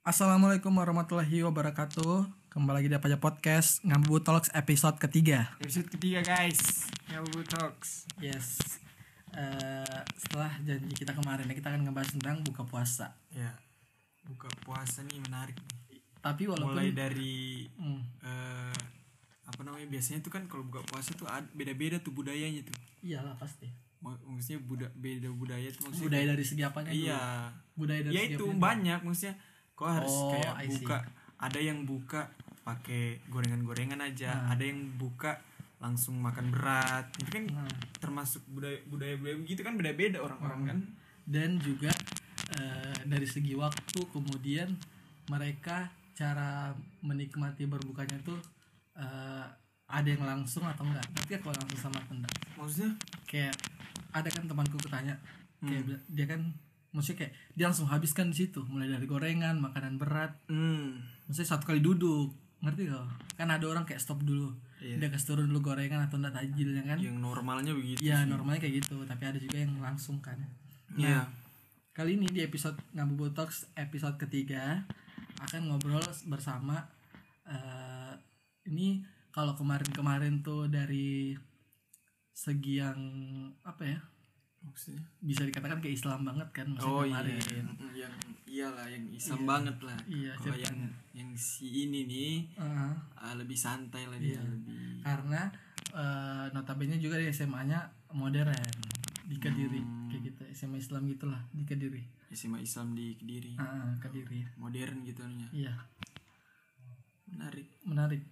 Assalamualaikum warahmatullahi wabarakatuh. Kembali lagi di Apa Aja Podcast Ngambu Talks episode ketiga. Episode ketiga guys, Nyabu Talks. Yes. Eh, setelah janji kita kemarin ya, kita akan ngebahas tentang buka puasa. Ya, buka puasa nih menarik. nih. Tapi walaupun Mulai dari Hmm, eh, apa namanya biasanya tuh kan kalau buka puasa tuh ad- beda-beda tuh budayanya tuh. iyalah pasti. Mak- Maksudnya buda- beda budaya tuh maksudnya. Budaya dari segi apanya? dulu? Iya. Budaya dari Ya segi itu apanya? banyak maksudnya. Kok harus Oh, kayak I see. buka. Ada yang buka pakai gorengan-gorengan aja. Nah. Ada yang buka langsung makan berat. Itu kan Nah, termasuk budaya budaya budaya begitu kan beda-beda orang-orang kan. dan juga eh, dari segi waktu kemudian mereka cara menikmati berbukanya tuh eh, ada yang langsung atau enggak? Tapi kalau langsung sama atau enggak? Maksudnya kayak ada kan temanku ketanya kayak bila- dia kan maksudnya kayak dia langsung habiskan di situ mulai dari gorengan makanan berat hmm, maksudnya satu kali duduk ngerti gak kan ada orang kayak stop dulu Iya. dia kasih turun dulu gorengan atau enggak tajilnya kan yang normalnya begitu. ya normalnya kayak gitu tapi ada juga yang langsung kan Iya. kali ini di episode ngabu botox episode ketiga akan ngobrol bersama eh, ini kalau kemarin-kemarin tuh dari segi yang apa ya Maksudnya? bisa dikatakan kayak Islam banget kan maksudnya Oh iya, kemarin. yang, yang iyalah yang Islam banget lah. Iya, Kalau siap. yang yang si ini nih Heeh, ah, lebih santai lah Iya. dia lebih. Uh-huh. karena eh, notabene juga di SMA-nya modern di Kediri Hmm. kayak gitu SMA Islam gitulah di Kediri SMA Islam di Kediri, Heeh, Kediri modern gitu nya. iya Menarik. menarik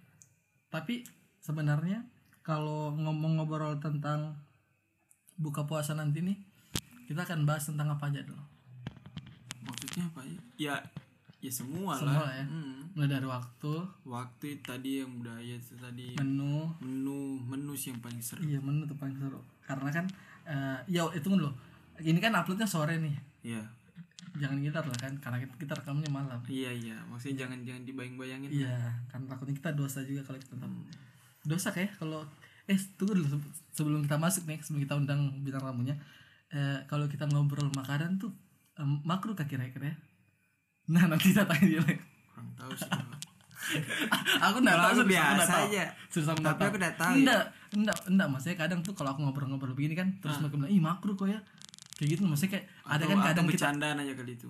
tapi sebenarnya kalau ngomong ngobrol tentang buka puasa nanti nih kita akan bahas tentang apa aja dulu Maksudnya apa ya? Ya ya semua, Semua lah. ya. Hmm. mulai dari waktu Waktu itu tadi yang budaya itu tadi menu menu menu sih yang paling seru. iya menu tuh paling seru karena kan eh, ya itu dulu ini kan uploadnya sore nih Iya. jangan gitar lah kan karena kita, kita rekamnya malam Iya iya, maksudnya jangan jangan dibayang-bayangin. iya kan takutnya kita dosa juga kalau kita Hmm. undang. dosa kayak kalau eh tunggu dulu se- sebelum kita masuk nih sebelum kita undang bintang tamunya eh, kalau kita ngobrol makanan tuh em, makruh kah kira-kira nah nanti kita tanya dia lagi. Kurang tahu sih. kalau- aku nggak Kalau tahu aku serius aku nggak biasa tahu. aja. Serius aku nggak Tapi aku nggak tahu ya. Nggak, nggak, nggak. maksudnya kadang tuh kalau aku ngobrol-ngobrol begini kan terus mereka bilang ih makruh kok ya kayak gitu maksudnya kayak ada Ah. Atau- kan atau kadang kita bercandaan aja kali itu.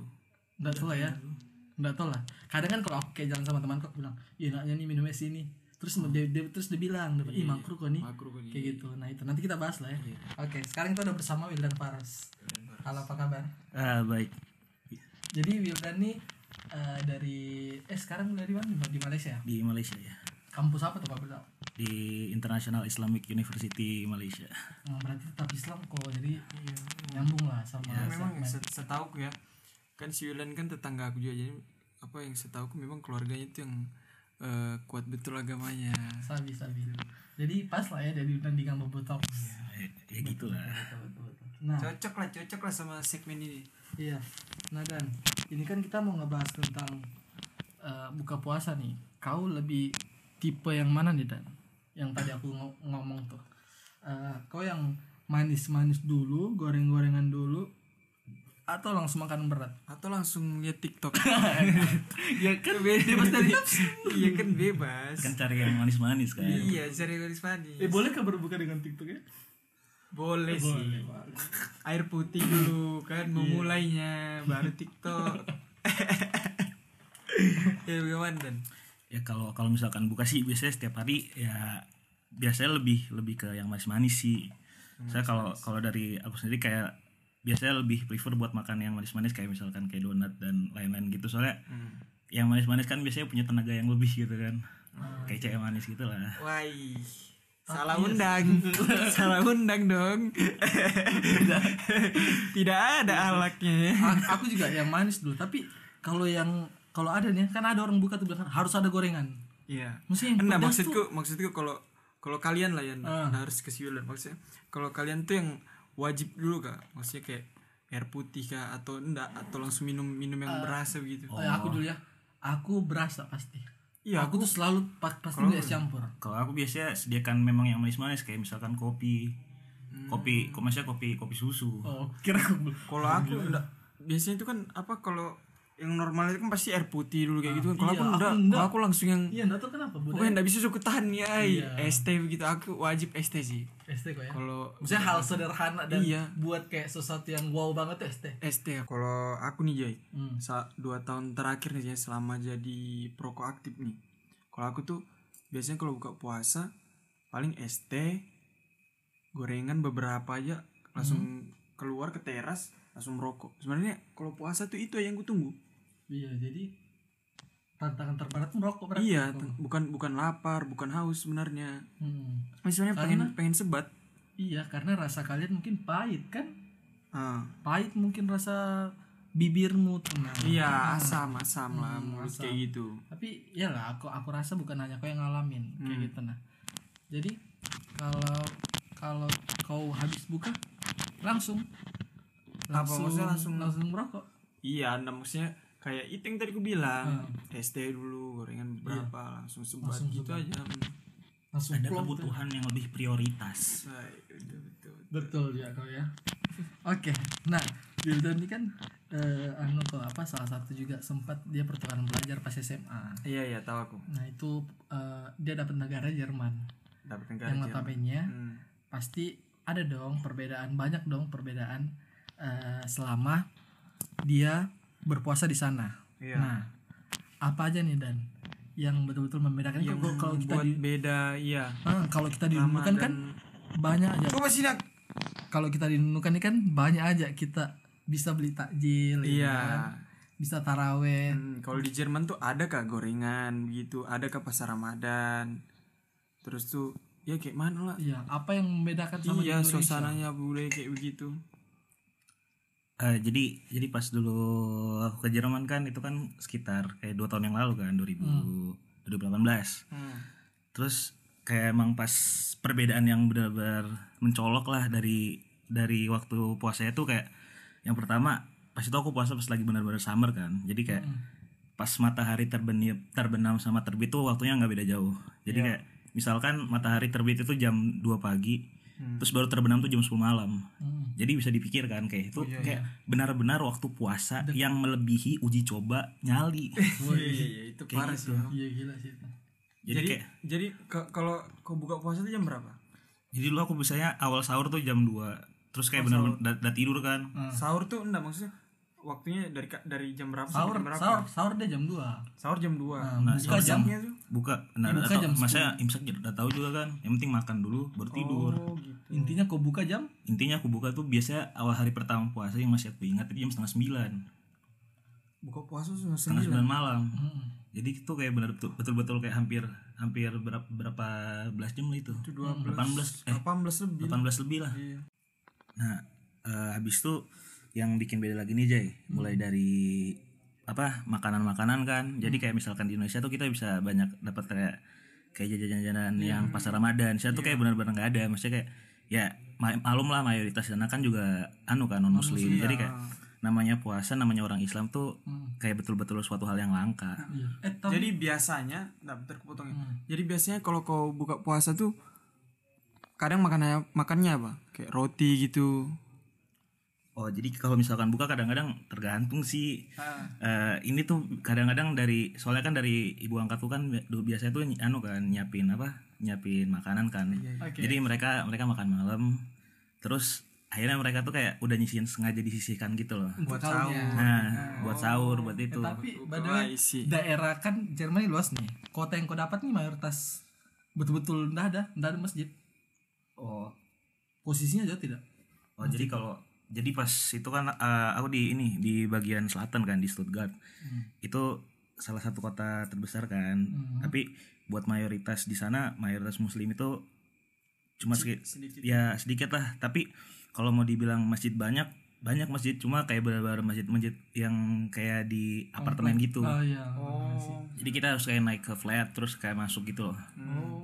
Nggak tau lah ya Nggak tau lah Kadang kan kalau aku kayak jalan sama temanku Aku bilang Iya enaknya nih minumnya sini Terus dia, dia- terus dia bilang dia bilang, Ih makruh kok nih Makro kali. Kayak gitu Nah itu nanti kita bahas lah ya Oke sekarang kita udah bersama Wildan Paras Halo apa kabar? Ah baik. Jadi Wildan nih eh, dari eh sekarang dari mana di Malaysia ya? Di Malaysia ya. kampus apa tuh Pak Wildan? Di International Islamic University Malaysia. Hmm, berarti tetap Islam kok jadi nyambung lah sama Ya, Iya. memang segmen. yang se- setauku ya kan si Yulan kan tetangga aku juga jadi apa yang setauku memang keluarganya itu yang eh, kuat betul agamanya sabi sabi jadi pas lah ya dari Wildan di Gambo Botox Eh, ya gitulah. Betul, betul, betul. nah cocok lah cocok lah sama segmen ini Iya. Nah dan ini kan kita mau ngebahas tentang eh, buka puasa nih. Kau lebih tipe yang mana nih dan? Yang tadi aku ngo- ngomong tuh. Eh, kau yang manis-manis dulu, goreng-gorengan dulu, atau langsung makan berat? atau langsung lihat TikTok ya kan bebas dari iya kan bebas Kan cari yang manis-manis kan. iya cari garis manis Eh boleh kah berbuka dengan TikTok ya? boleh sih air putih dulu kan memulainya baru TikTok ya bagaimana dan Ya kalau kalau misalkan buka sih biasanya setiap hari ya biasanya lebih lebih ke yang manis-manis sih. Saya kalau kalau dari aku sendiri kayak biasanya lebih prefer buat makan yang manis-manis kayak misalkan kayak donat dan lain-lain gitu soalnya yang manis-manis kan biasanya punya tenaga yang lebih gitu kan kayak cewek manis gitu lah Wai. Salah undang. Salah undang dong. Tidak ada ya. alatnya A- aku juga yang manis dulu, tapi kalau yang kalau ada nih kan ada orang buka tuh bilang harus ada gorengan. Iya. Maksudnya yang Enggak pedas tuh. maksudku maksudku kalau kalau kalian lah yang Ah. harus kesiulan maksudnya. Kalau kalian tuh yang wajib dulu kak, maksudnya kayak air putih kak atau enggak atau langsung minum minum yang berasa begitu. Eh, aku dulu ya. Aku berasa pasti. Iya, aku, tuh selalu pa- pasti dulu es campur. Kalau aku biasanya sediakan memang yang manis-manis kayak misalkan kopi. Kopi, kok maksudnya kopi kopi susu. Oh, kira aku belum. Kalau aku enggak biasanya itu kan apa kalau yang normal itu kan pasti air putih dulu kayak gitu kan kalau iya, aku aku enggak, enggak. kalau aku langsung yang iya nggak tahu kenapa pokoknya budaya enggak bisa suku tahan ya ay. Iya. ST begitu aku wajib ST sih ST kok ya kalau maksudnya hal sederhana dan Iya. buat kayak sesuatu yang wow banget tuh ST ST ya. kalau aku nih Jai hmm. sa- dua tahun terakhir nih Jai, selama jadi proko aktif nih kalau aku tuh biasanya kalau buka puasa paling ST gorengan beberapa aja Hmm. langsung keluar ke teras langsung merokok sebenarnya kalau puasa tuh itu yang gue tunggu iya jadi tantangan terberat merokok berarti iya Oh. ten- bukan bukan lapar bukan haus sebenarnya Hmm. Nah, sebenarnya pengen Karena- pengen sebat iya karena rasa kalian mungkin pahit kan Ah, pahit mungkin rasa bibirmu tenang iya asam asam lah Hmm, mulut asam. kayak gitu tapi iyalah aku aku rasa bukan hanya kau yang ngalamin kayak Hmm. gitu nah jadi kalau kalau kau habis buka langsung Apa, maksudnya langsung langsung langsung- merokok iya anda maksudnya kayak itu yang tadi aku Hmm. bilang Iya. ST dulu gorengan berapa langsung sebat Langsung gitu sebat. aja Hmm. langsung ada plong. kebutuhan yang lebih Say, prioritas udah, Nah, gitu, betul, betul. betul ya kau ya oke nah Wildan ini kan eh, anu kok apa salah satu juga sempat dia pertukaran belajar pas SMA iya iya tahu aku nah itu eh, dia dapat negara Jerman dapat yang negara Jerman. notabene Hmm. pasti ada dong perbedaan banyak dong perbedaan eh, selama dia berpuasa di sana. iya Nah, apa aja nih dan yang betul-betul membedakan Kan yang Kalau- kalau kita buat di beda iya Ah, kalau kita dinundukan kan banyak aja. coba sinak Kalau kita dinundukan ini kan banyak aja kita bisa beli takjil, ya iya kan? bisa taraweh. Hmm, kalau di Jerman tuh ada kak gorengan begitu ada ke pasar Ramadan terus tuh ya kayak mana lah Iya, apa yang membedakan sama iya di Indonesia? suasananya boleh kayak begitu Eh, jadi jadi pas dulu aku ke Jerman kan itu kan sekitar kayak dua tahun yang lalu kan 2000 2018 Hmm. terus kayak emang pas perbedaan yang benar-benar mencolok lah dari dari waktu puasanya tuh kayak yang pertama pas itu aku puasa pas lagi benar-benar summer kan jadi kayak pas matahari terbenam terbenam sama terbit tuh waktunya nggak beda jauh jadi kayak misalkan matahari terbit itu jam 2 pagi terus baru terbenam tuh jam 10 malam Hmm. jadi bisa dipikirkan kayak itu kayak benar-benar waktu puasa yang melebihi uji coba nyali iya iya, iya, itu Kayak parah sih gitu. Iya gila sih. itu. jadi kayak jadi ke- kalau kau buka puasa itu jam berapa? Jadi dulu aku biasanya awal sahur tuh jam 2 Terus kayak bener-bener udah udah tidur kan Sahur tuh enggak maksudnya waktunya dari ka- dari jam berapa sampai Sahur, jam berapa? sahur, sahur dia jam 2. Sahur jam 2. Nah, Buka sahur Hmm, jam- jamnya tuh. Buka nah, Buka atau- jam Maksudnya imsak juga udah tahu juga kan Yang penting makan dulu baru tidur Oh, gitu. Intinya kau buka jam Intinya aku buka tuh biasanya awal hari pertama puasa yang masih aku ingat itu jam setengah sembilan Buka puasa tuh jam Setengah 9. sembilan malam Hmm. Jadi itu kayak bener betul- betul-betul kayak hampir Hampir berapa, berapa belas jam lah itu Itu 12. 18, eh. 18 lebih. 18 lebih lah Iya. Nah, eh, habis itu yang bikin beda lagi nih Jay, mulai dari apa makanan-makanan kan. Jadi kayak misalkan di Indonesia tuh kita bisa banyak dapat kayak kayak jajanan-jajanan yang pasar Ramadan. Saya tuh kayak benar-benar nggak ada. Maksudnya kayak ya ma- malum lah mayoritas sana kan juga anu kan non muslim. Jadi kayak namanya puasa, namanya orang Islam tuh Hmm. kayak betul-betul suatu hal yang langka. Iya. Eh, tapi Jadi biasanya, nah bentar aku potong ya. Hmm. Jadi biasanya kalau kau buka puasa tuh kadang makannya makannya apa? Kayak roti gitu. Oh, jadi kalau misalkan buka kadang-kadang tergantung sih. Eh, ini tuh kadang-kadang dari soalnya kan dari ibu angkatku kan bi- du- biasanya tuh nyi- anu kan nyiapin apa? Nyiapin makanan kan. Oke. Jadi mereka mereka makan malam. Terus akhirnya mereka tuh kayak udah nyisihin sengaja disisihkan gitu loh. buat sahur. Nah, buat sahur buat itu. Eh, Tapi Wah, padahal isi. daerah kan Jerman ini luas nih. Kota yang kau dapat nih mayoritas betul-betul ndak ada, ndak ada masjid. Oh, Posisinya jauh tidak. oh, jadi kalau jadi pas itu kan eh, aku di ini di bagian selatan kan di Stuttgart. Itu salah satu kota terbesar kan. Hmm. Tapi buat mayoritas di sana mayoritas muslim itu cuma sedikit Sedikit. ya sedikit lah tapi kalau mau dibilang masjid banyak banyak masjid cuma kayak benar-benar masjid-masjid yang kayak di apartemen gitu Oh iya. Oh. jadi kita harus kayak naik ke flat terus kayak masuk gitu loh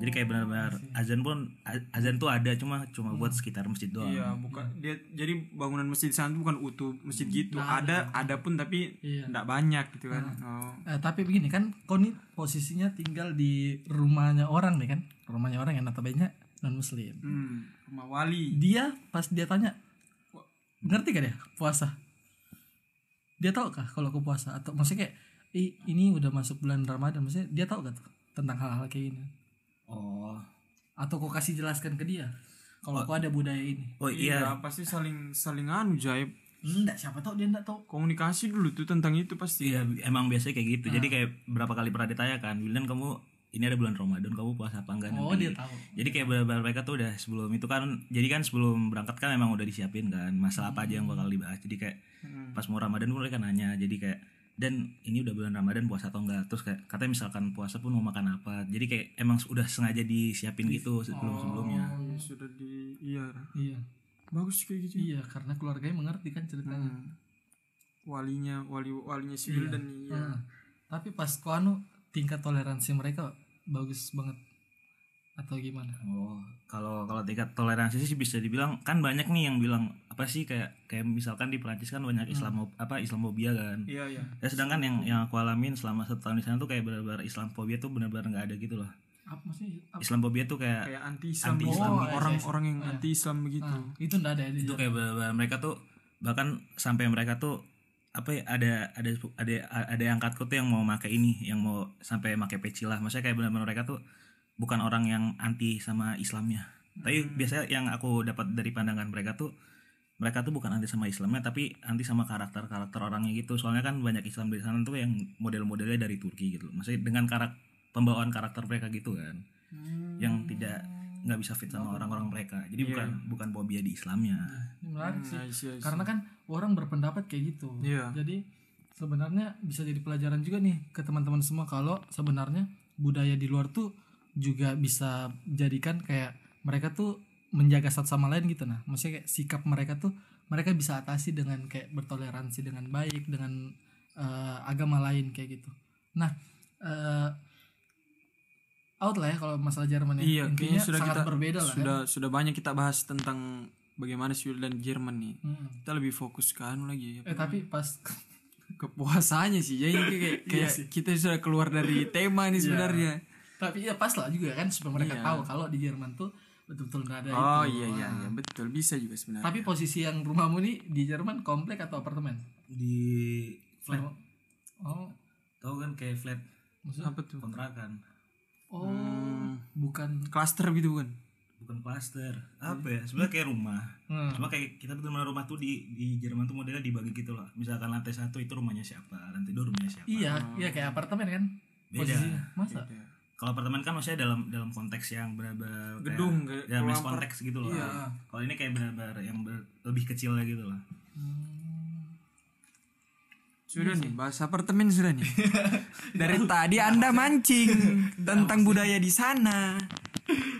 jadi kayak benar-benar azan pun a- azan tuh ada cuma cuma buat sekitar masjid doang Iya, bukan dia jadi bangunan masjid di sana tuh bukan utuh masjid gitu. ada ada pun tapi Hmm. Nah, Iya. enggak banyak gitu kan. Oh. Eh, tapi begini kan, kau nih posisinya tinggal di rumahnya orang nih kan, rumahnya orang yang notabene non muslim. Hmm, rumah wali. Dia pas dia tanya, ngerti gak dia puasa? dia tahu kah kalau aku puasa atau maksudnya kayak "Ih, ini udah masuk bulan Ramadan maksudnya dia tahu gak tuh tentang hal-hal kayak gini oh atau kau kasih jelaskan ke dia kalau aku ada budaya ini oh iya Iya, pasti saling saling anu jaib enggak siapa tahu dia enggak tahu komunikasi dulu tuh tentang itu pasti. Iya, emang biasanya kayak gitu. Ah. Jadi kayak berapa kali pernah ditanyakan, Wildan kamu ini ada bulan Ramadan, kamu puasa apa enggak oh nanti?" dia tahu Jadi kayak benar-benar mereka tuh udah sebelum itu kan, jadi kan sebelum berangkat kan emang udah disiapin kan masalah apa aja yang bakal dibahas. Jadi kayak Hmm. pas mau Ramadan pun mereka nanya. Jadi kayak dan ini udah bulan Ramadan puasa atau enggak? Terus kayak katanya misalkan puasa pun mau makan apa? Jadi kayak emang udah sengaja disiapin gitu sebelum sebelumnya. Oh, ya sudah di iya. iya Bagus kayak gitu. iya karena keluarganya mengerti kan ceritanya Hmm. Walinya, wali walinya si Wildan nih. Iya. Nah, tapi pas kau anu tingkat toleransi mereka bagus banget atau gimana Oh, kalau kalau tingkat toleransi sih bisa dibilang kan banyak nih yang bilang apa sih kayak kayak misalkan di Perancis kan banyak Islamo apa Islamofobia kan. Iya, iya. Ya sedangkan yang yang aku alamin selama satu tahun di sana tuh kayak benar-benar Islamofobia tuh benar-benar nggak ada gitu loh. apa maksudnya apa? Islamofobia tuh kayak Kayak anti-Islam gitu. Anti-Islam. Oh, iya, orang-orang yang gitu. iya. anti-Islam begitu. Ah, itu enggak ada ya, itu dia. kayak benar-benar mereka tuh bahkan sampai mereka tuh apa ya ada ada ada ada angkatku tuh yang mau pakai ini yang mau sampai pakai peci lah maksudnya kayak benar-benar mereka tuh bukan orang yang anti sama Islamnya tapi biasanya yang aku dapat dari pandangan mereka tuh mereka tuh bukan anti sama Islamnya tapi anti sama karakter karakter orangnya gitu soalnya kan banyak Islam di sana tuh yang model-modelnya dari Turki gitu loh maksudnya dengan karakter pembawaan karakter mereka gitu kan Hmm. Iya, yang tidak nggak bisa fit sama orang-orang mereka jadi bukan bukan fobia di Islamnya Ini menarik sih I see, I see. karena kan orang berpendapat kayak gitu Iya. jadi sebenarnya bisa jadi pelajaran juga nih ke teman-teman semua kalau sebenarnya budaya di luar tuh juga bisa jadikan kayak mereka tuh menjaga satu sama lain gitu nah maksudnya kayak sikap mereka tuh mereka bisa atasi dengan kayak bertoleransi dengan baik dengan eh, agama lain kayak gitu nah eh, out lah ya kalau masalah Jerman ya Iya, intinya kayaknya sudah sangat kita berbeda lah ya. sudah sudah banyak kita bahas tentang bagaimana Swiss dan Jerman nih. ya. Mm. Kita lebih fokuskan lagi ya. eh tapi pas kepuasanya sih. Jadi kayak, kayak, Iya kayak kita sudah keluar dari tema nih sebenarnya. tapi ya pas lah juga kan supaya mereka Iya. tahu kalau di Jerman tuh betul-betul nggak ada ya itu Oh Ah. iya iya iya betul bisa juga sebenarnya. tapi posisi yang rumahmu nih di Jerman komplek atau apartemen di flat oh tau kan kayak flat maksudnya apa tuh? kontrakan oh bukan Cluster gitu kan. bukan klaster Iya. apa ya sebenarnya kayak rumah Hmm. cuma kayak kita benar-benar rumah tuh di di Jerman tuh modelnya dibagi gitu loh misalkan lantai satu itu rumahnya siapa lantai dua rumahnya siapa iya iya kayak apartemen kan Beda. posisinya masa kalau apartemen kan maksudnya dalam dalam konteks yang benar-benar kayak- Gedung, kayak dalam ruang Iya. niche konteks gitu loh kalau ini kayak benar-benar yang ber- lebih kecil lagi gitu loh Iya Sudah nih bahas apartemen sudah nih. Dari tadi Anda mancing Iya. tentang budaya di sana.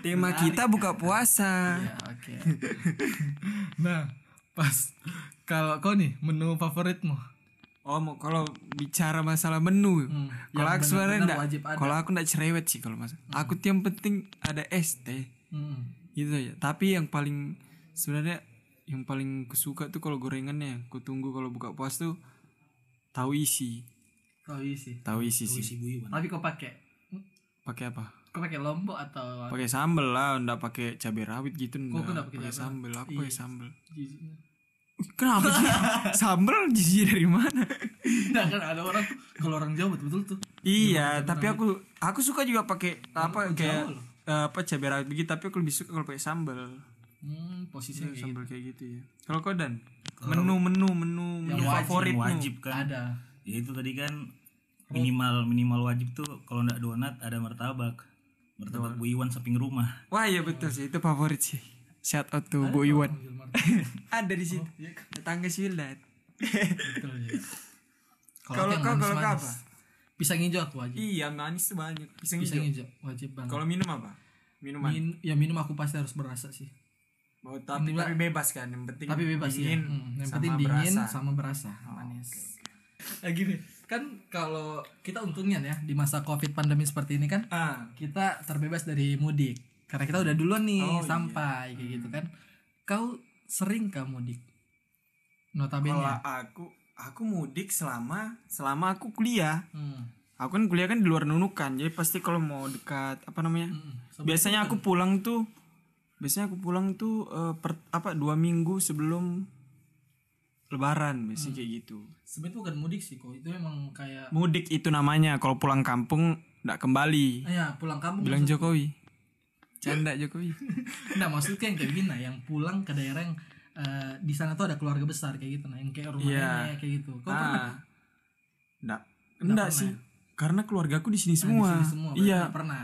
Tema kita buka puasa. ya oke nah pas kalau kau nih menu favoritmu Oh, mau kalau bicara masalah menu, Hmm, kalau yang aku benar-benar sebenarnya enggak, wajib ada. kalau aku enggak cerewet sih kalau masak. Aku tuh yang penting ada es teh Hmm. gitu ya. Tapi yang paling sebenarnya yang paling kusuka tuh kalau gorengannya, aku tunggu kalau buka puas tuh tahu isi, kau isi tahu isi sih. si Buiwan oh, iya tapi kau pakai Pakai apa? kau pakai lombok atau Pakai sambel lah, enggak pakai cabai rawit gitu aku enggak enggak. pakai cabai Pakai Iya. sambel, aku pakai sambel. Jijiknya. Kenapa sih? sambel jijik dari mana? Nah kan ada orang kalau orang Jawa betul-betul tuh. Iya, tapi aku aku suka juga pakai apa kayak loh. eh, apa cabai rawit begitu, tapi aku lebih suka kalau pakai sambal. Hmm, posisinya kayak Sambal kayak gitu ya. Kalau kau dan menu-menu menu menu favorit Iya, Oh. wajib gitu. kan ada. ya itu tadi kan minimal minimal wajib tuh kalau nggak donat ada martabak martabak Bu Iwan samping rumah Wah, iya betul sih, itu favorit sih. Shout out to Bu Iwan. Mobil Mart. Ada Oh, di situ. iya. Tetangga Swildat. Betul ya. Kalau yang kau kalau kau manis-manis. apa? Pisang hijau aku wajib. Iya, manis tuh banyak. Pisang Pisang hijau. hijau wajib banget. Kalau minum apa? Minuman. Min- ya minum aku pasti harus berasa sih. Mau tapi, Minimal. tapi bebas kan, yang penting Tapi bebas dingin, ya. Hmm, yang sama penting dingin berasa. Oh, sama berasa, manis. Eh, Ya gini, kan kalau kita untungnya ya di masa Covid pandemi seperti ini kan Ah, kita terbebas dari mudik karena kita udah duluan nih Oh, iya. sampai kayak gitu kan kau sering kah mudik notabene Kalau aku aku mudik selama selama aku kuliah. hmm. Aku kan kuliah kan di luar nunukan. Jadi pasti kalau mau dekat apa namanya? Hmm. Sebelum- Biasanya aku pulang tuh biasanya aku pulang tuh eh, per- apa dua minggu sebelum lebaran biasanya kayak gitu sebenarnya bukan mudik sih kok itu emang kayak mudik itu namanya kalau pulang kampung nggak kembali Ah, ya pulang kampung bilang Jokowi canda Jokowi Nggak maksudnya yang kayak gini nah, yang pulang ke daerah yang eh, di sana tuh ada keluarga besar kayak gitu nah yang kayak rumah Iya. nenek kayak gitu. Kau pernah ah nggak nggak pernah sih ya? karena keluargaku di sini Nah, di semua. sini semua berarti iya nggak pernah.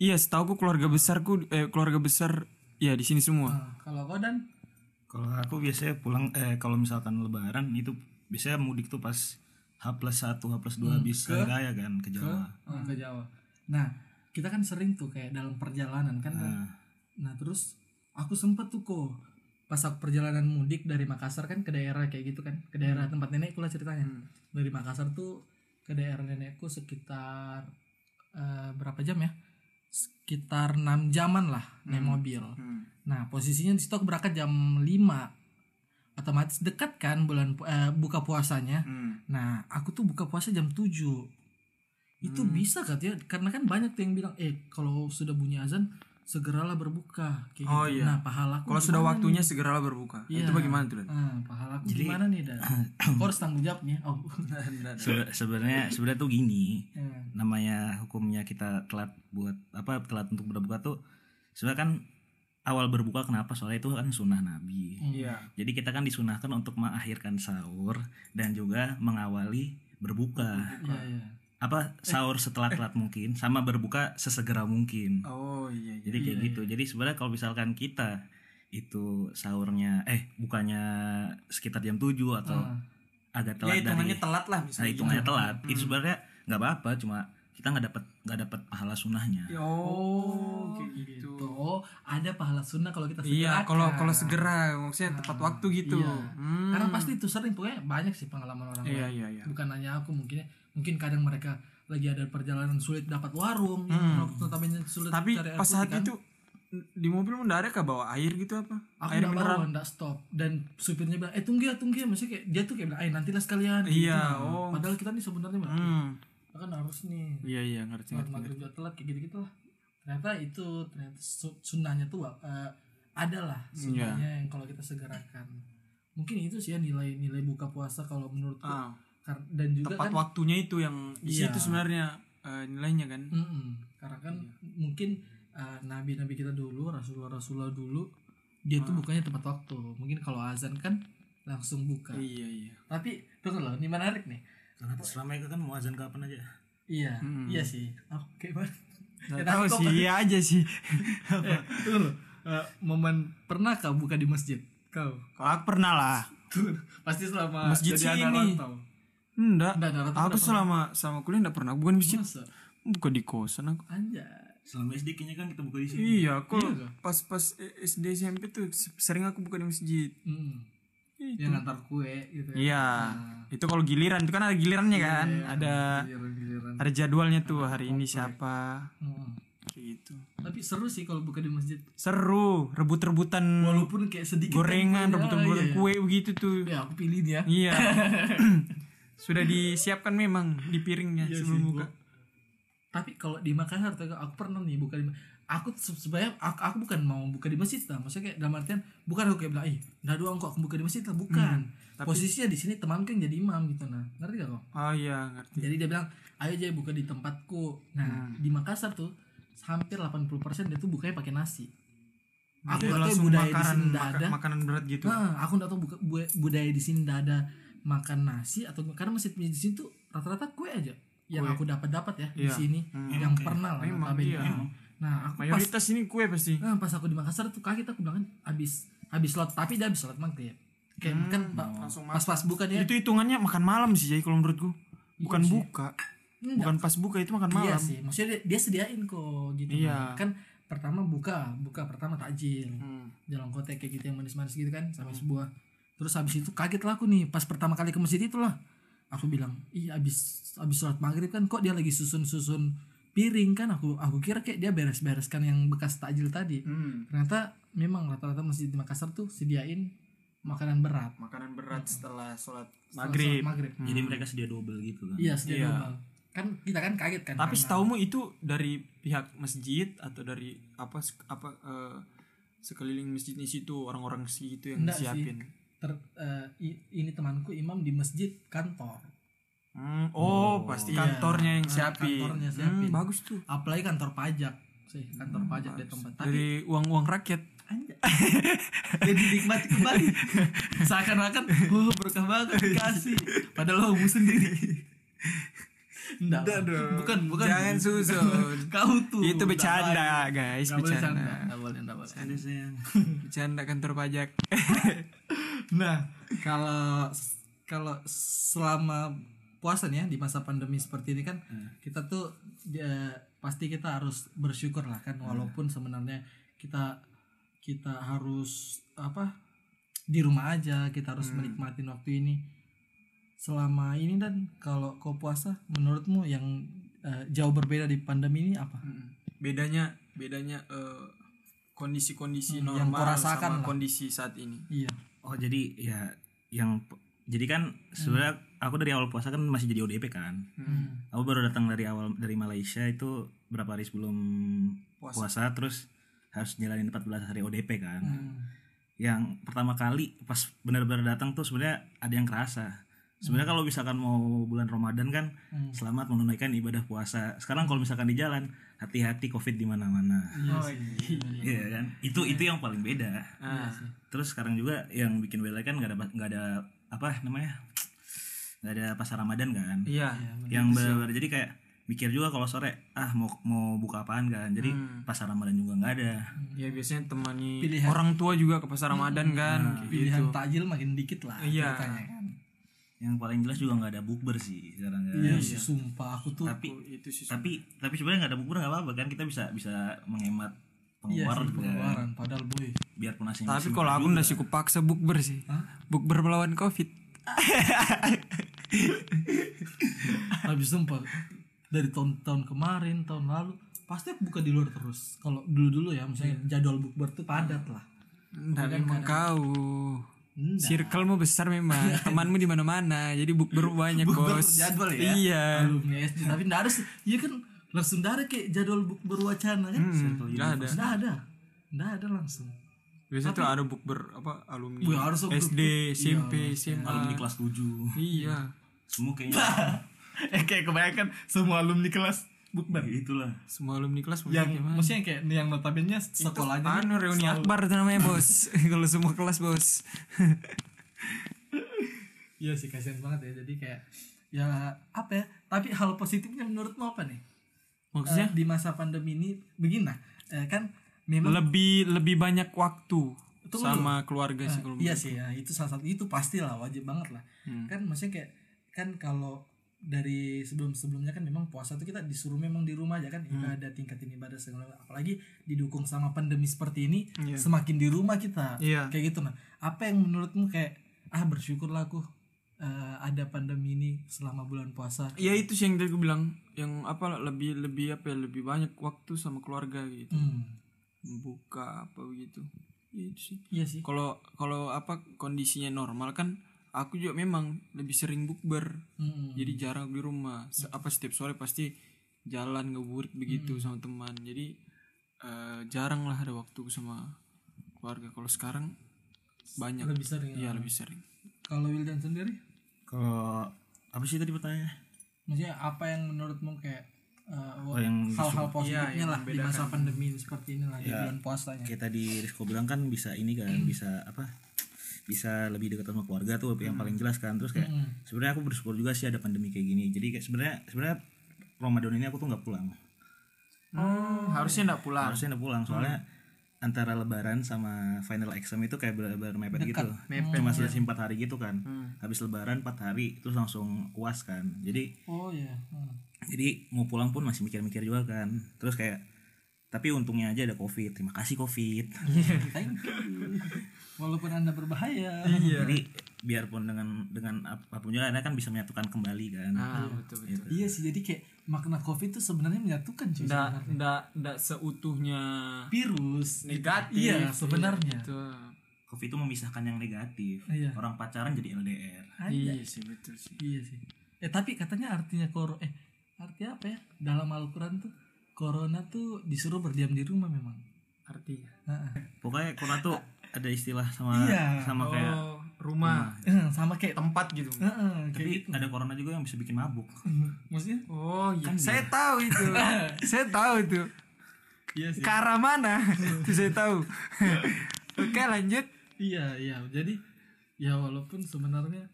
iya setahu keluarga besarku eh, keluarga besar ya di sini semua Nah, kalau kau dan Kalau aku biasanya pulang eh kalau misalkan lebaran itu biasanya mudik tuh pas H plus 1, H plus 2 habis hari raya kan ke Jawa. oh, ke Jawa. Nah, kita kan sering tuh kayak dalam perjalanan kan. Dan- Ah. Nah, Nah, terus aku sempet tuh kok pas aku perjalanan mudik dari Makassar kan ke daerah kayak gitu kan, ke daerah Hmm. tempat nenekku lah ceritanya. Dari Makassar tuh ke daerah nenekku sekitar eh, berapa jam ya? Sekitar 6 jaman lah naik Hmm. mobil. Nah, posisinya di situ aku berangkat jam 5. Otomatis dekat kan bulan pu- eh, buka puasanya. Nah, aku tuh buka puasa jam 7. Itu Hmm. bisa katanya karena kan banyak tuh yang bilang, "Eh, kalau sudah bunyi azan, segeralah berbuka." Kayak Oh, gitu. iya. Nah, pahalaku kalau sudah gimana waktunya segeralah berbuka Iya. itu bagaimana tuh nih? Dan? Ah, pahalaku gimana nih, Dan? Kau harus tanggung jawab nih. Oh. se- sebenarnya sebenarnya tuh gini. Eh, namanya hukumnya kita telat buat apa telat untuk berbuka tuh sebenarnya kan awal berbuka kenapa soalnya itu kan sunnah nabi iya jadi kita kan disunahkan untuk mengakhirkan sahur dan juga mengawali berbuka Iya, iya. apa sahur setelah telat mungkin sama berbuka sesegera mungkin oh iya iya jadi kayak Iya, gitu jadi sebenarnya kalau misalkan kita itu sahurnya eh bukannya sekitar jam 7 atau Ah. agak ya Hmm. telat dari hitungannya telat ya. lah nah, misalnya gitu. hitungannya telat itu sebenarnya nggak apa-apa cuma kita nggak dapat nggak dapat pahala sunahnya Ya, oh kayak gitu. gitu Oh, ada pahala sunnah kalau kita Iya, segerakan. kalau kalau segera maksudnya tepat waktu gitu. Iya. Hmm. Karena pasti itu sering pokoknya banyak sih pengalaman orang Iya lain. iya iya. Bukan hanya aku mungkin ya. mungkin kadang mereka lagi ada perjalanan sulit dapat warung, notabene sulit Hmm. Tapi cari air pas putih, saat kan. itu di mobil mendadak kah bawa air gitu apa? aku air nggak bawa nggak stop dan supirnya bilang eh tunggu ya tunggu ya maksudnya kayak dia tuh kayak bilang eh nantilah sekalian gitu. Iya, Nah, oh. padahal kita nih sebenarnya bilang, Hmm. "Eh, kan harus nih Iya iya ngerti sholat ngerti. maghrib juga telat kayak gitu gitu lah ternyata itu ternyata su- sunnahnya tuh eh, ada lah Iya. sunnahnya yang kalau kita segerakan mungkin itu sih ya nilai-nilai buka puasa kalau menurutku Ah, Kar- dan juga tepat kan waktunya itu yang di Iya. situ sebenarnya eh, nilainya kan. Mm-mm. karena kan mungkin eh, nabi-nabi kita dulu rasulullah-rasulullah dulu dia tuh bukanya tepat waktu mungkin kalau azan kan langsung buka Iya iya. tapi tunggu loh ini menarik nih Karena selama itu kan mau azan kapan aja. iya Mm-mm. iya sih aku kayak mana Nggak Ya, tahu tapi kok- sih, iya aja sih. Eh, tunggu loh Eh, momen pernah kau buka di masjid kau kalau aku pernah lah. Tuh, pasti selama Masjid jadi anak sini. rantau. Enggak. Nggak, nggak, nggak Aku pernah. selama selama kuliah enggak pernah bukan masjid. Masa? Bukan di kosan aku. Anjay. Selama SD kayaknya kan kita buka di sini. Iya, e- aku Iya, Kak. pas-pas SD SMP tuh sering aku buka di masjid. Hmm. Itu. Yang ngantar kue gitu ya. Iya. Itu kalau giliran itu kan ada gilirannya Iya, kan. ada Giliran-giliran. ada jadwalnya tuh hari ini siapa Hmm. kayak gitu. Tapi seru sih kalau buka di masjid. Seru, rebut-rebutan Walaupun kayak sedikit gorengan, tempenya, rebut-rebutan iya, iya. kue begitu tuh. Ya aku pilih dia. Iya. Sudah disiapkan memang di piringnya Iya sebelum sih, buka. Tapi kalau di Makassar tuh aku pernah nih buka di aku se- sebenarnya aku, aku bukan mau buka di masjid lah maksudnya kayak dalam artian bukan aku kayak bilang ih nggak doang kok aku buka di masjid lah bukan Hmm, posisinya di sini temanku yang jadi imam gitu nah ngerti gak kok Oh iya, Hmm. ngerti. Jadi dia bilang, ayo aja buka di tempatku. Nah, di Makassar tuh hampir 80% dia tuh bukanya pakai nasi. Aku nggak Jadi tahu langsung budaya di makanan sini nggak maka- ada. makanan berat gitu. Nah, aku nggak tahu buka, bu- budaya di sini nggak ada makan nasi atau karena masjid masjid di sini tuh rata-rata kue aja yang Kue. aku dapat dapat ya di Iya. sini yang pernah lah Memang, notabene. iya. Nah, aku pas Mayoritas ini kue pasti. nah, pas aku di Makassar tuh kaget aku bilang kan habis habis sholat tapi dia habis sholat maghrib. Kayak Hmm, kan pa- langsung pas-pas buka dia Itu hitungannya makan malam sih, Jay, kalau menurutku. Bukan Iya buka, "Enggak, bukan pas buka itu makan Iya malam. sih, maksudnya dia, dia sediain kok gitu. Nah, Iya. Kan pertama buka, buka pertama takjil. Hmm. Jalan kotek kayak gitu yang manis-manis gitu kan sama sebuah. Terus habis itu kaget lah aku nih pas pertama kali ke masjid itulah. Aku bilang, "Ih, habis habis sholat maghrib kan kok dia lagi susun-susun piring kan aku aku kira kayak dia beres-bereskan yang bekas takjil tadi. Ternyata memang rata-rata masjid di Makassar tuh sediain makanan berat. Makanan berat Hmm. setelah sholat Setelah maghrib. sholat maghrib. Jadi mereka sedia double gitu kan. Iya, sedia Iya. double. Kan kita kan kaget kan. Tapi karena- setaumu itu dari pihak masjid atau dari apa sek- apa eh, sekeliling masjidnya situ orang-orang situ yang Enggak sih. siapin. ter- eh, i- ini temanku imam di masjid kantor Hmm, oh, Oh, pasti iya. kantornya yang Ah, siapin. kantornya Hmm, siapin. bagus tuh. apalagi kantor pajak sih kantor pajak di Bagus. tempat tapi Dari uang-uang rakyat. anjay. jadi nikmati kembali seakan-akan wah berkah banget dikasih padahal lo homo sendiri Enggak, Enggak dong. bukan, bukan. Jangan suzon. Kau tuh. Itu bercanda, guys, Enggak boleh bercanda. bercanda. Enggak boleh, enggak boleh. Ada sayang. Bercanda kan kantor pajak. Nah, kalau kalau selama puasa nih ya di masa pandemi seperti ini kan kita tuh dia pasti kita harus bersyukur lah kan walaupun sebenarnya kita kita harus apa di rumah aja kita harus menikmati waktu ini selama ini dan kalau kau puasa menurutmu yang eh, jauh berbeda di pandemi ini apa? Mm. Bedanya bedanya eh, kondisi-kondisi Hmm, yang kau normal rasakan sama lah. kondisi saat ini. Iya. Oh jadi ya yang jadi kan sebenarnya aku dari awal puasa kan masih jadi ODP kan. Hmm. Aku baru datang dari awal dari Malaysia itu berapa hari sebelum Puasa. puasa, terus harus jalanin 14 hari ODP kan. Hmm. Yang pertama kali pas benar-benar datang tuh sebenarnya ada yang kerasa. Sebenarnya kalau misalkan mau bulan Ramadan kan Hmm. selamat menunaikan ibadah puasa. Sekarang kalau misalkan di jalan hati-hati Covid di mana-mana. Iya Oh, Ah, sih. Iya kan? Itu itu yang paling beda. Iya sih. Terus sekarang juga yang bikin bela kan nggak ada nggak ada apa namanya nggak ada pasar Ramadan kan? Iya. Iya, benar. yang benar jadi kayak mikir juga kalau sore ah mau mau buka apaan kan? Jadi Hmm. pasar Ramadan juga nggak ada. Ya biasanya temani Pilihan. Hmm. Nah, orang tua juga ke pasar Ramadan kan. Kayak pilihan gitu. takjil makin dikit lah Iya. ceritanya kan. Yang paling jelas juga nggak ada bukber sih sekarang kan. Iya, sih, sumpah aku tuh Tapi Oh, itu sih. tapi tapi sebenarnya nggak ada bukber nggak apa-apa kan kita bisa bisa menghemat iya pengeluaran sih, kan? pengeluaran padahal boy. biar pun nasi Tapi kalau aku udah cukup paksa bukber sih. Bukber melawan Covid. Habis sumpah dari tahun-tahun kemarin, tahun lalu pasti aku buka di luar terus. Kalau dulu-dulu ya misalnya jadwal bukber tuh padat lah. Enggak memang kau. Enggak. Circlemu besar memang, temanmu di mana-mana, jadi bukber banyak Bukber bos. terjadwal ya. Iya. Alumni SD tapi enggak ada sih. Iya kan langsung enggak ada kayak jadwal bukber wacana kan. Enggak ada. Enggak ada. Enggak ada langsung. Biasanya tuh ada bukber apa alumni Wih, harus tuh Iya, SD, SMP, SMA. alumni kelas 7 Iya. semua kayaknya eh kayak kebanyakan semua alumni kelas Ya, itulah Semua alumni kelas yang maksudnya gimana? maksudnya kayak yang notabene sekolahnya kan nih, anu reuni akbar tuh namanya bos. Kalau semua kelas bos. Iya sih kasihan banget ya jadi kayak ya apa ya tapi hal positifnya menurutmu apa nih Maksudnya Eh, di masa pandemi ini begini nah eh, kan memang lebih lebih banyak waktu Tunggu sama keluarga sih kalau iya sih ya itu salah satu itu pastilah wajib banget lah Hmm. kan maksudnya kayak kan kalau dari sebelum sebelumnya kan memang puasa tuh kita disuruh memang di rumah aja kan Hmm. ibadah tingkatin ibadah segala macam. apalagi didukung sama pandemi seperti ini Iya. semakin di rumah kita Iya. kayak gitu nah apa yang menurutmu kayak ah bersyukurlah aku eh, ada pandemi ini selama bulan puasa Ya itu sih yang tadi gue bilang yang apa lebih lebih apa ya, lebih banyak waktu sama keluarga gitu. Hmm, Buka apa begitu. Ya, itu sih. iya sih. Kalau kalau apa kondisinya normal kan aku juga memang lebih sering bukber. Hmm. Jadi jarang di rumah. Se- apa setiap sore pasti jalan ngeburit begitu sama teman. Jadi eh, jarang lah ada waktu sama keluarga. Kalau sekarang banyak. lebih sering. Iya, lebih sering. Kalau Wildan sendiri, kalau apa sih tadi pertanyaannya maksudnya apa yang menurutmu kayak eh, yang hal-hal positifnya lah di masa pandemi ini seperti ini lah di bulan ya? puasanya. kayak tadi Rizko bilang kan bisa ini kan bisa apa bisa lebih dekat sama keluarga tuh yang paling jelas kan terus kayak sebenarnya aku bersyukur juga sih ada pandemi kayak gini jadi kayak sebenarnya sebenarnya Ramadan ini aku tuh nggak pulang harusnya enggak pulang. harusnya nggak pulang soalnya antara Lebaran sama final exam itu kayak benar-benar mepet gitu cuma selesai empat hari gitu kan habis Lebaran empat hari terus langsung uas kan jadi Oh iya. Hmm. jadi mau pulang pun masih mikir-mikir juga kan terus kayak tapi untungnya aja ada covid terima kasih covid Thank you. Walaupun anda berbahaya. jadi biarpun dengan dengan ap- apapun juga anda kan bisa menyatukan kembali kan Ah, betul betul. iya sih jadi kayak makna covid itu sebenarnya menyatukan cuy. Nggak- sebenarnya. nggak- nggak seutuhnya Virus. negatif. Iya sebenarnya. Betul. covid itu memisahkan yang negatif Iya. orang pacaran jadi LDR Anjay. Iya sih betul sih. Iya sih. Eh tapi katanya artinya koro eh artinya apa ya? Dalam Al-Qur'an tuh corona tuh disuruh berdiam di rumah memang. Artinya. Heeh. pokoknya corona tuh ada istilah sama Iya. sama kayak Oh, rumah, sama kayak tempat gitu. Heeh, kayak Tapi ada corona juga yang bisa bikin mabuk. maksudnya Oh iya. saya tahu itu. saya tahu itu. iya sih Ke arah mana? itu saya tahu. Iya. Oke lanjut. iya iya jadi ya walaupun sebenarnya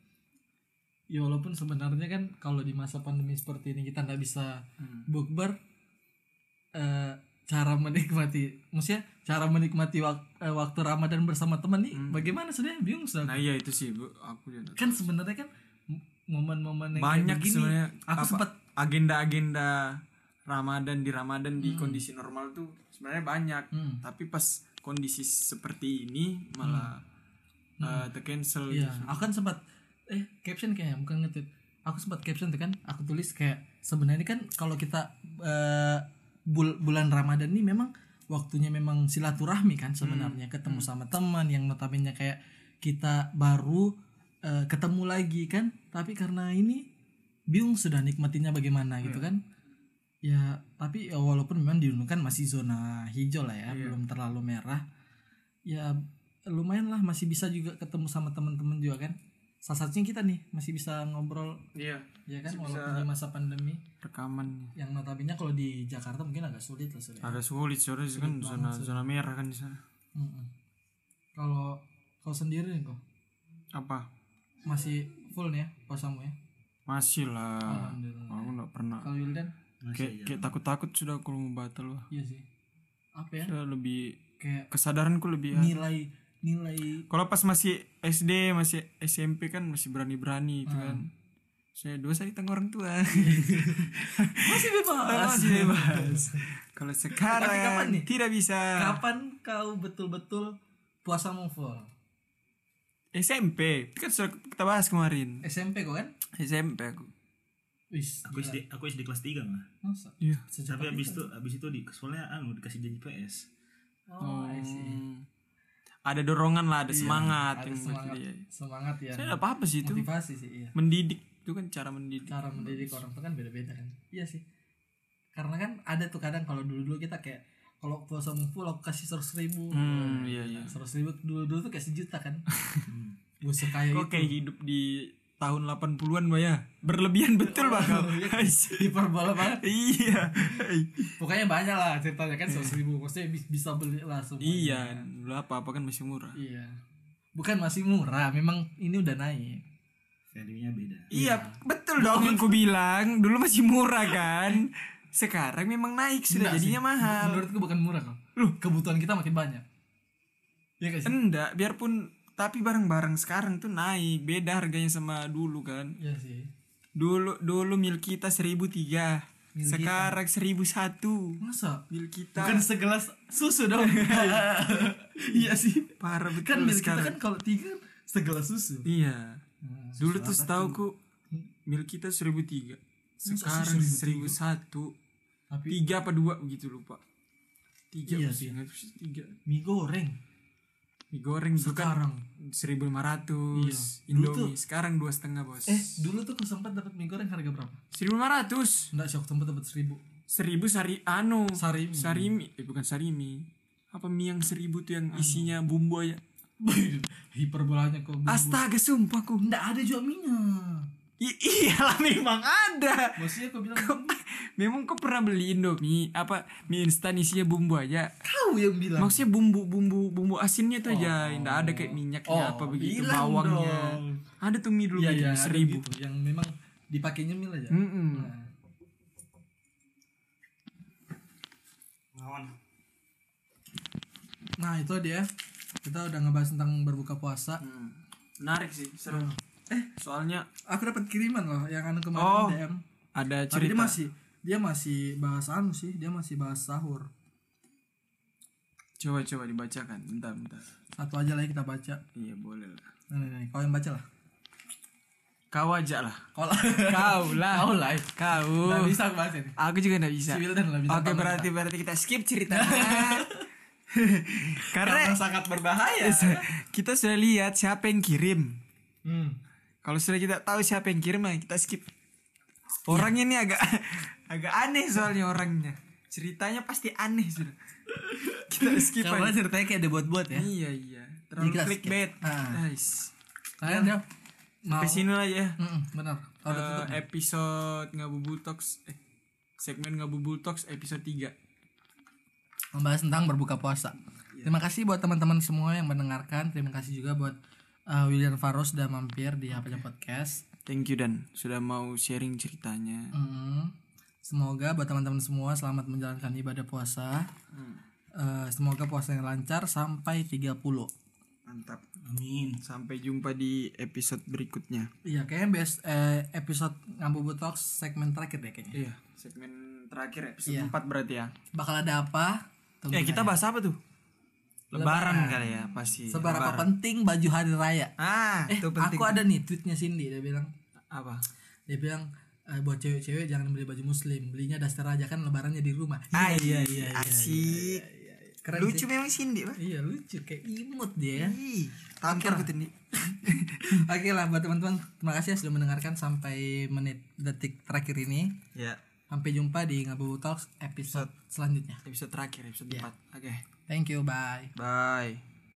ya walaupun sebenarnya kan kalau di masa pandemi seperti ini kita nggak bisa Hmm. bukber eh, cara menikmati maksudnya cara menikmati wak- eh, waktu Ramadan bersama teman nih bagaimana sebenarnya bingung sudah Hmm. Nah iya itu sih bu. Aku juga. kan sebenarnya kan m- momen-momen yang kayak Banyak begini, sebenarnya. aku apa- sempat agenda-agenda Ramadan di Ramadan di kondisi normal tuh sebenarnya banyak. Hmm. Tapi pas kondisi seperti ini malah eh, tercancel. Hmm. Iya, aku kan sempat eh caption kayaknya bukan ngetweet. Aku sempat caption tuh kan, aku tulis kayak sebenarnya kan kalau kita eh, bul- bulan Ramadan ini memang waktunya memang silaturahmi kan sebenarnya ketemu sama teman yang notabene kayak kita baru eh, ketemu lagi kan, tapi karena ini bingung sudah nikmatinya bagaimana gitu kan. Ya, tapi ya, walaupun memang di Gunung kan masih zona hijau lah ya, belum terlalu merah. Ya lumayan lah masih bisa juga ketemu sama teman-teman juga kan. Salah satunya kita nih masih bisa ngobrol Iya. ya kan walaupun di masa pandemi Rekaman yang notabene kalau di Jakarta mungkin agak sulit lah ya. Ah. sudah. agak sulit soalnya kan zona zona merah kan di sana. Mm-mm. Kalau kau sendiri nih kok Apa? masih full nih ya puasamu ya. Masih Ah. lah. Alhamdulillah. Aku nggak pernah. Kalau Wildan ya. Kayak kayak takut-takut sudah kalau mau batal lah. iya sih. Apa ya? Sudah lebih Kayak kesadaranku Iya. lebih nilai nilai kalau pas masih SD masih SMP kan masih berani-berani itu kan Hmm. saya dosa ditanggung orang tua Iya, masih bebas. masih bebas kalau Tapi kapan sekarang nih? tidak bisa Kapan kau betul-betul puasamu full? SMP kan sudah kita bahas kemarin SMP kok kan? SMP aku Wis, Aku SD, aku SD kelas 3 mah. masa? iya Sejak Tapi abis itu, abis itu di soalnya anu dikasih janji PS. Oh, I see. ada dorongan lah ada Hmm, semangat Iya, ada yang buat semangat dia. semangat ya saya nggak apa apa sih itu motivasi sih iya mendidik itu kan cara mendidik cara mendidik orang itu kan beda beda kan iya sih karena kan ada tuh kadang kalau dulu dulu kita kayak kalau puasa full aku kasih seratus ribu Hmm, iya, iya. seratus ribu dulu dulu tuh kayak sejuta kan Hmm. gue sekaya kok itu kayak gitu? hidup di tahun 80-an Mbak ya berlebihan betul Mbak kau diperbola banget iya pokoknya banyak lah ceritanya kan seratus ribu maksudnya bi- bisa beli lah semua iya dulu apa apa kan masih murah iya bukan masih murah memang ini udah naik Value-nya beda. iya betul dong yang ku bilang dulu masih murah kan sekarang memang naik sudah Enggak sih. jadinya mahal menurutku bukan murah kok Loh, kebutuhan kita makin banyak Iya gak sih? enggak biarpun tapi barang-barang sekarang tuh naik beda harganya sama dulu kan Iya sih. dulu dulu milik kita 1003 sekarang 1001 Masa? milik kita Bukan segelas susu dong. iya sih. parah betul Kan milik kita sekarang kan kalau tiga segelas susu. iya Hmm, Dulu tuh setauku milik kita 1003. Sekarang 1001. Tapi Tiga apa dua begitu lupa. Tiga Iya apa sih. sih? Nggak tahu sih, tiga. mie goreng Mie goreng gitu kan. bukan sekarang. 1500 Iya. Dulu Indomie sekarang dua setengah bos Eh, dulu tuh aku sempat dapat mie goreng harga berapa? 1500 Enggak sih, aku sempat dapat seribu. seribu sari anu Sarimi. sarimi eh bukan sarimi apa mie yang seribu Anu. tuh yang isinya bumbu aja Hiperbolanya kok. Bu. astaga sumpah aku Nggak ada juga minyak. I- iyalah memang ada Maksudnya aku bilang Kau- Memang kau pernah beli Indomie apa mie instan isinya bumbu aja? kau yang bilang. Maksudnya bumbu bumbu bumbu asinnya tuh aja, enggak ada kayak minyaknya Oh, apa begitu bilang bawangnya. dong. Ada tuh mie dulu Iya, gitu, iya, mie ada seribu. gitu, yang memang dipakainya mie aja. Mm-mm. Nah, Lawan. Nah, itu dia. Kita udah ngebahas tentang berbuka puasa. Hmm. Menarik sih, seru. Eh, soalnya Aku dapat kiriman loh yang anu kemarin Oh. DM. ada Tapi dia cerita masih dia masih bahas anu sih, dia masih bahas sahur. coba coba dibacakan. Bentar, bentar. Satu aja lagi kita baca. Nah, Iya, boleh lah. Nih, nih, nih, kau yang baca lah. Kau aja lah. Kau lah. Kau lah. Kau lah. Nggak Kau. Nah, bisa aku baca nih. Aku juga nggak bisa. Si Wildan lah bisa Oke, tahu berarti berarti kita skip ceritanya. Karena Karena sangat berbahaya. Iya. kita sudah lihat siapa yang kirim. Hmm. Kalau sudah kita tahu siapa yang kirim, mari kita Iya. skip. Orangnya ini agak agak aneh soalnya orangnya. Ceritanya pasti aneh sudah. Kita skip Karena aja. ceritanya kayak dibuat-buat ya. Iya iya. Terlalu Jadi kita skip. clickbait. Ah. Guys. kalian ya mau Sampai sini lah ya. Mm-mm, benar Kalau Oh, udah Eh, tutup ya? nih. episode Ngabubutox eh segmen Ngabubutox episode 3. membahas tentang berbuka puasa terima kasih buat teman-teman semua yang mendengarkan terima kasih juga buat uh, William Faros sudah mampir di apa podcast Thank you Dan sudah mau sharing ceritanya. Mm. Semoga buat teman-teman semua selamat menjalankan ibadah puasa. Eh, semoga puasa yang lancar sampai 30. Mantap. Amin. Sampai jumpa di episode berikutnya. Iya, kayaknya best eh, episode Ngabuburit Talks segmen terakhir deh kayaknya. Iya, segmen terakhir Iya. episode 4 berarti ya. Bakal ada apa? Tunggu Ya, kita bahas apa tuh? Lebaran, kali ya, pasti. Seberapa penting baju hari raya? Ah, Eh, itu penting. aku ada nih tweetnya Cindy dia bilang Apa? dia bilang eh, buat cewek-cewek jangan beli baju muslim, belinya daster aja kan lebarannya di rumah. Ah, iya, iya, asik. Keren Lucu sih. memang Cindy, Pak. Iya, lucu kayak imut dia kan. Ih, gitu, tampar aku Cindy. Oke lah buat teman-teman, terima kasih ya sudah mendengarkan sampai menit detik terakhir ini. Ya, Sampai jumpa di Ngabu Talks episode selanjutnya. episode terakhir, episode Iya. 4. Oke. Thank you, bye. Bye.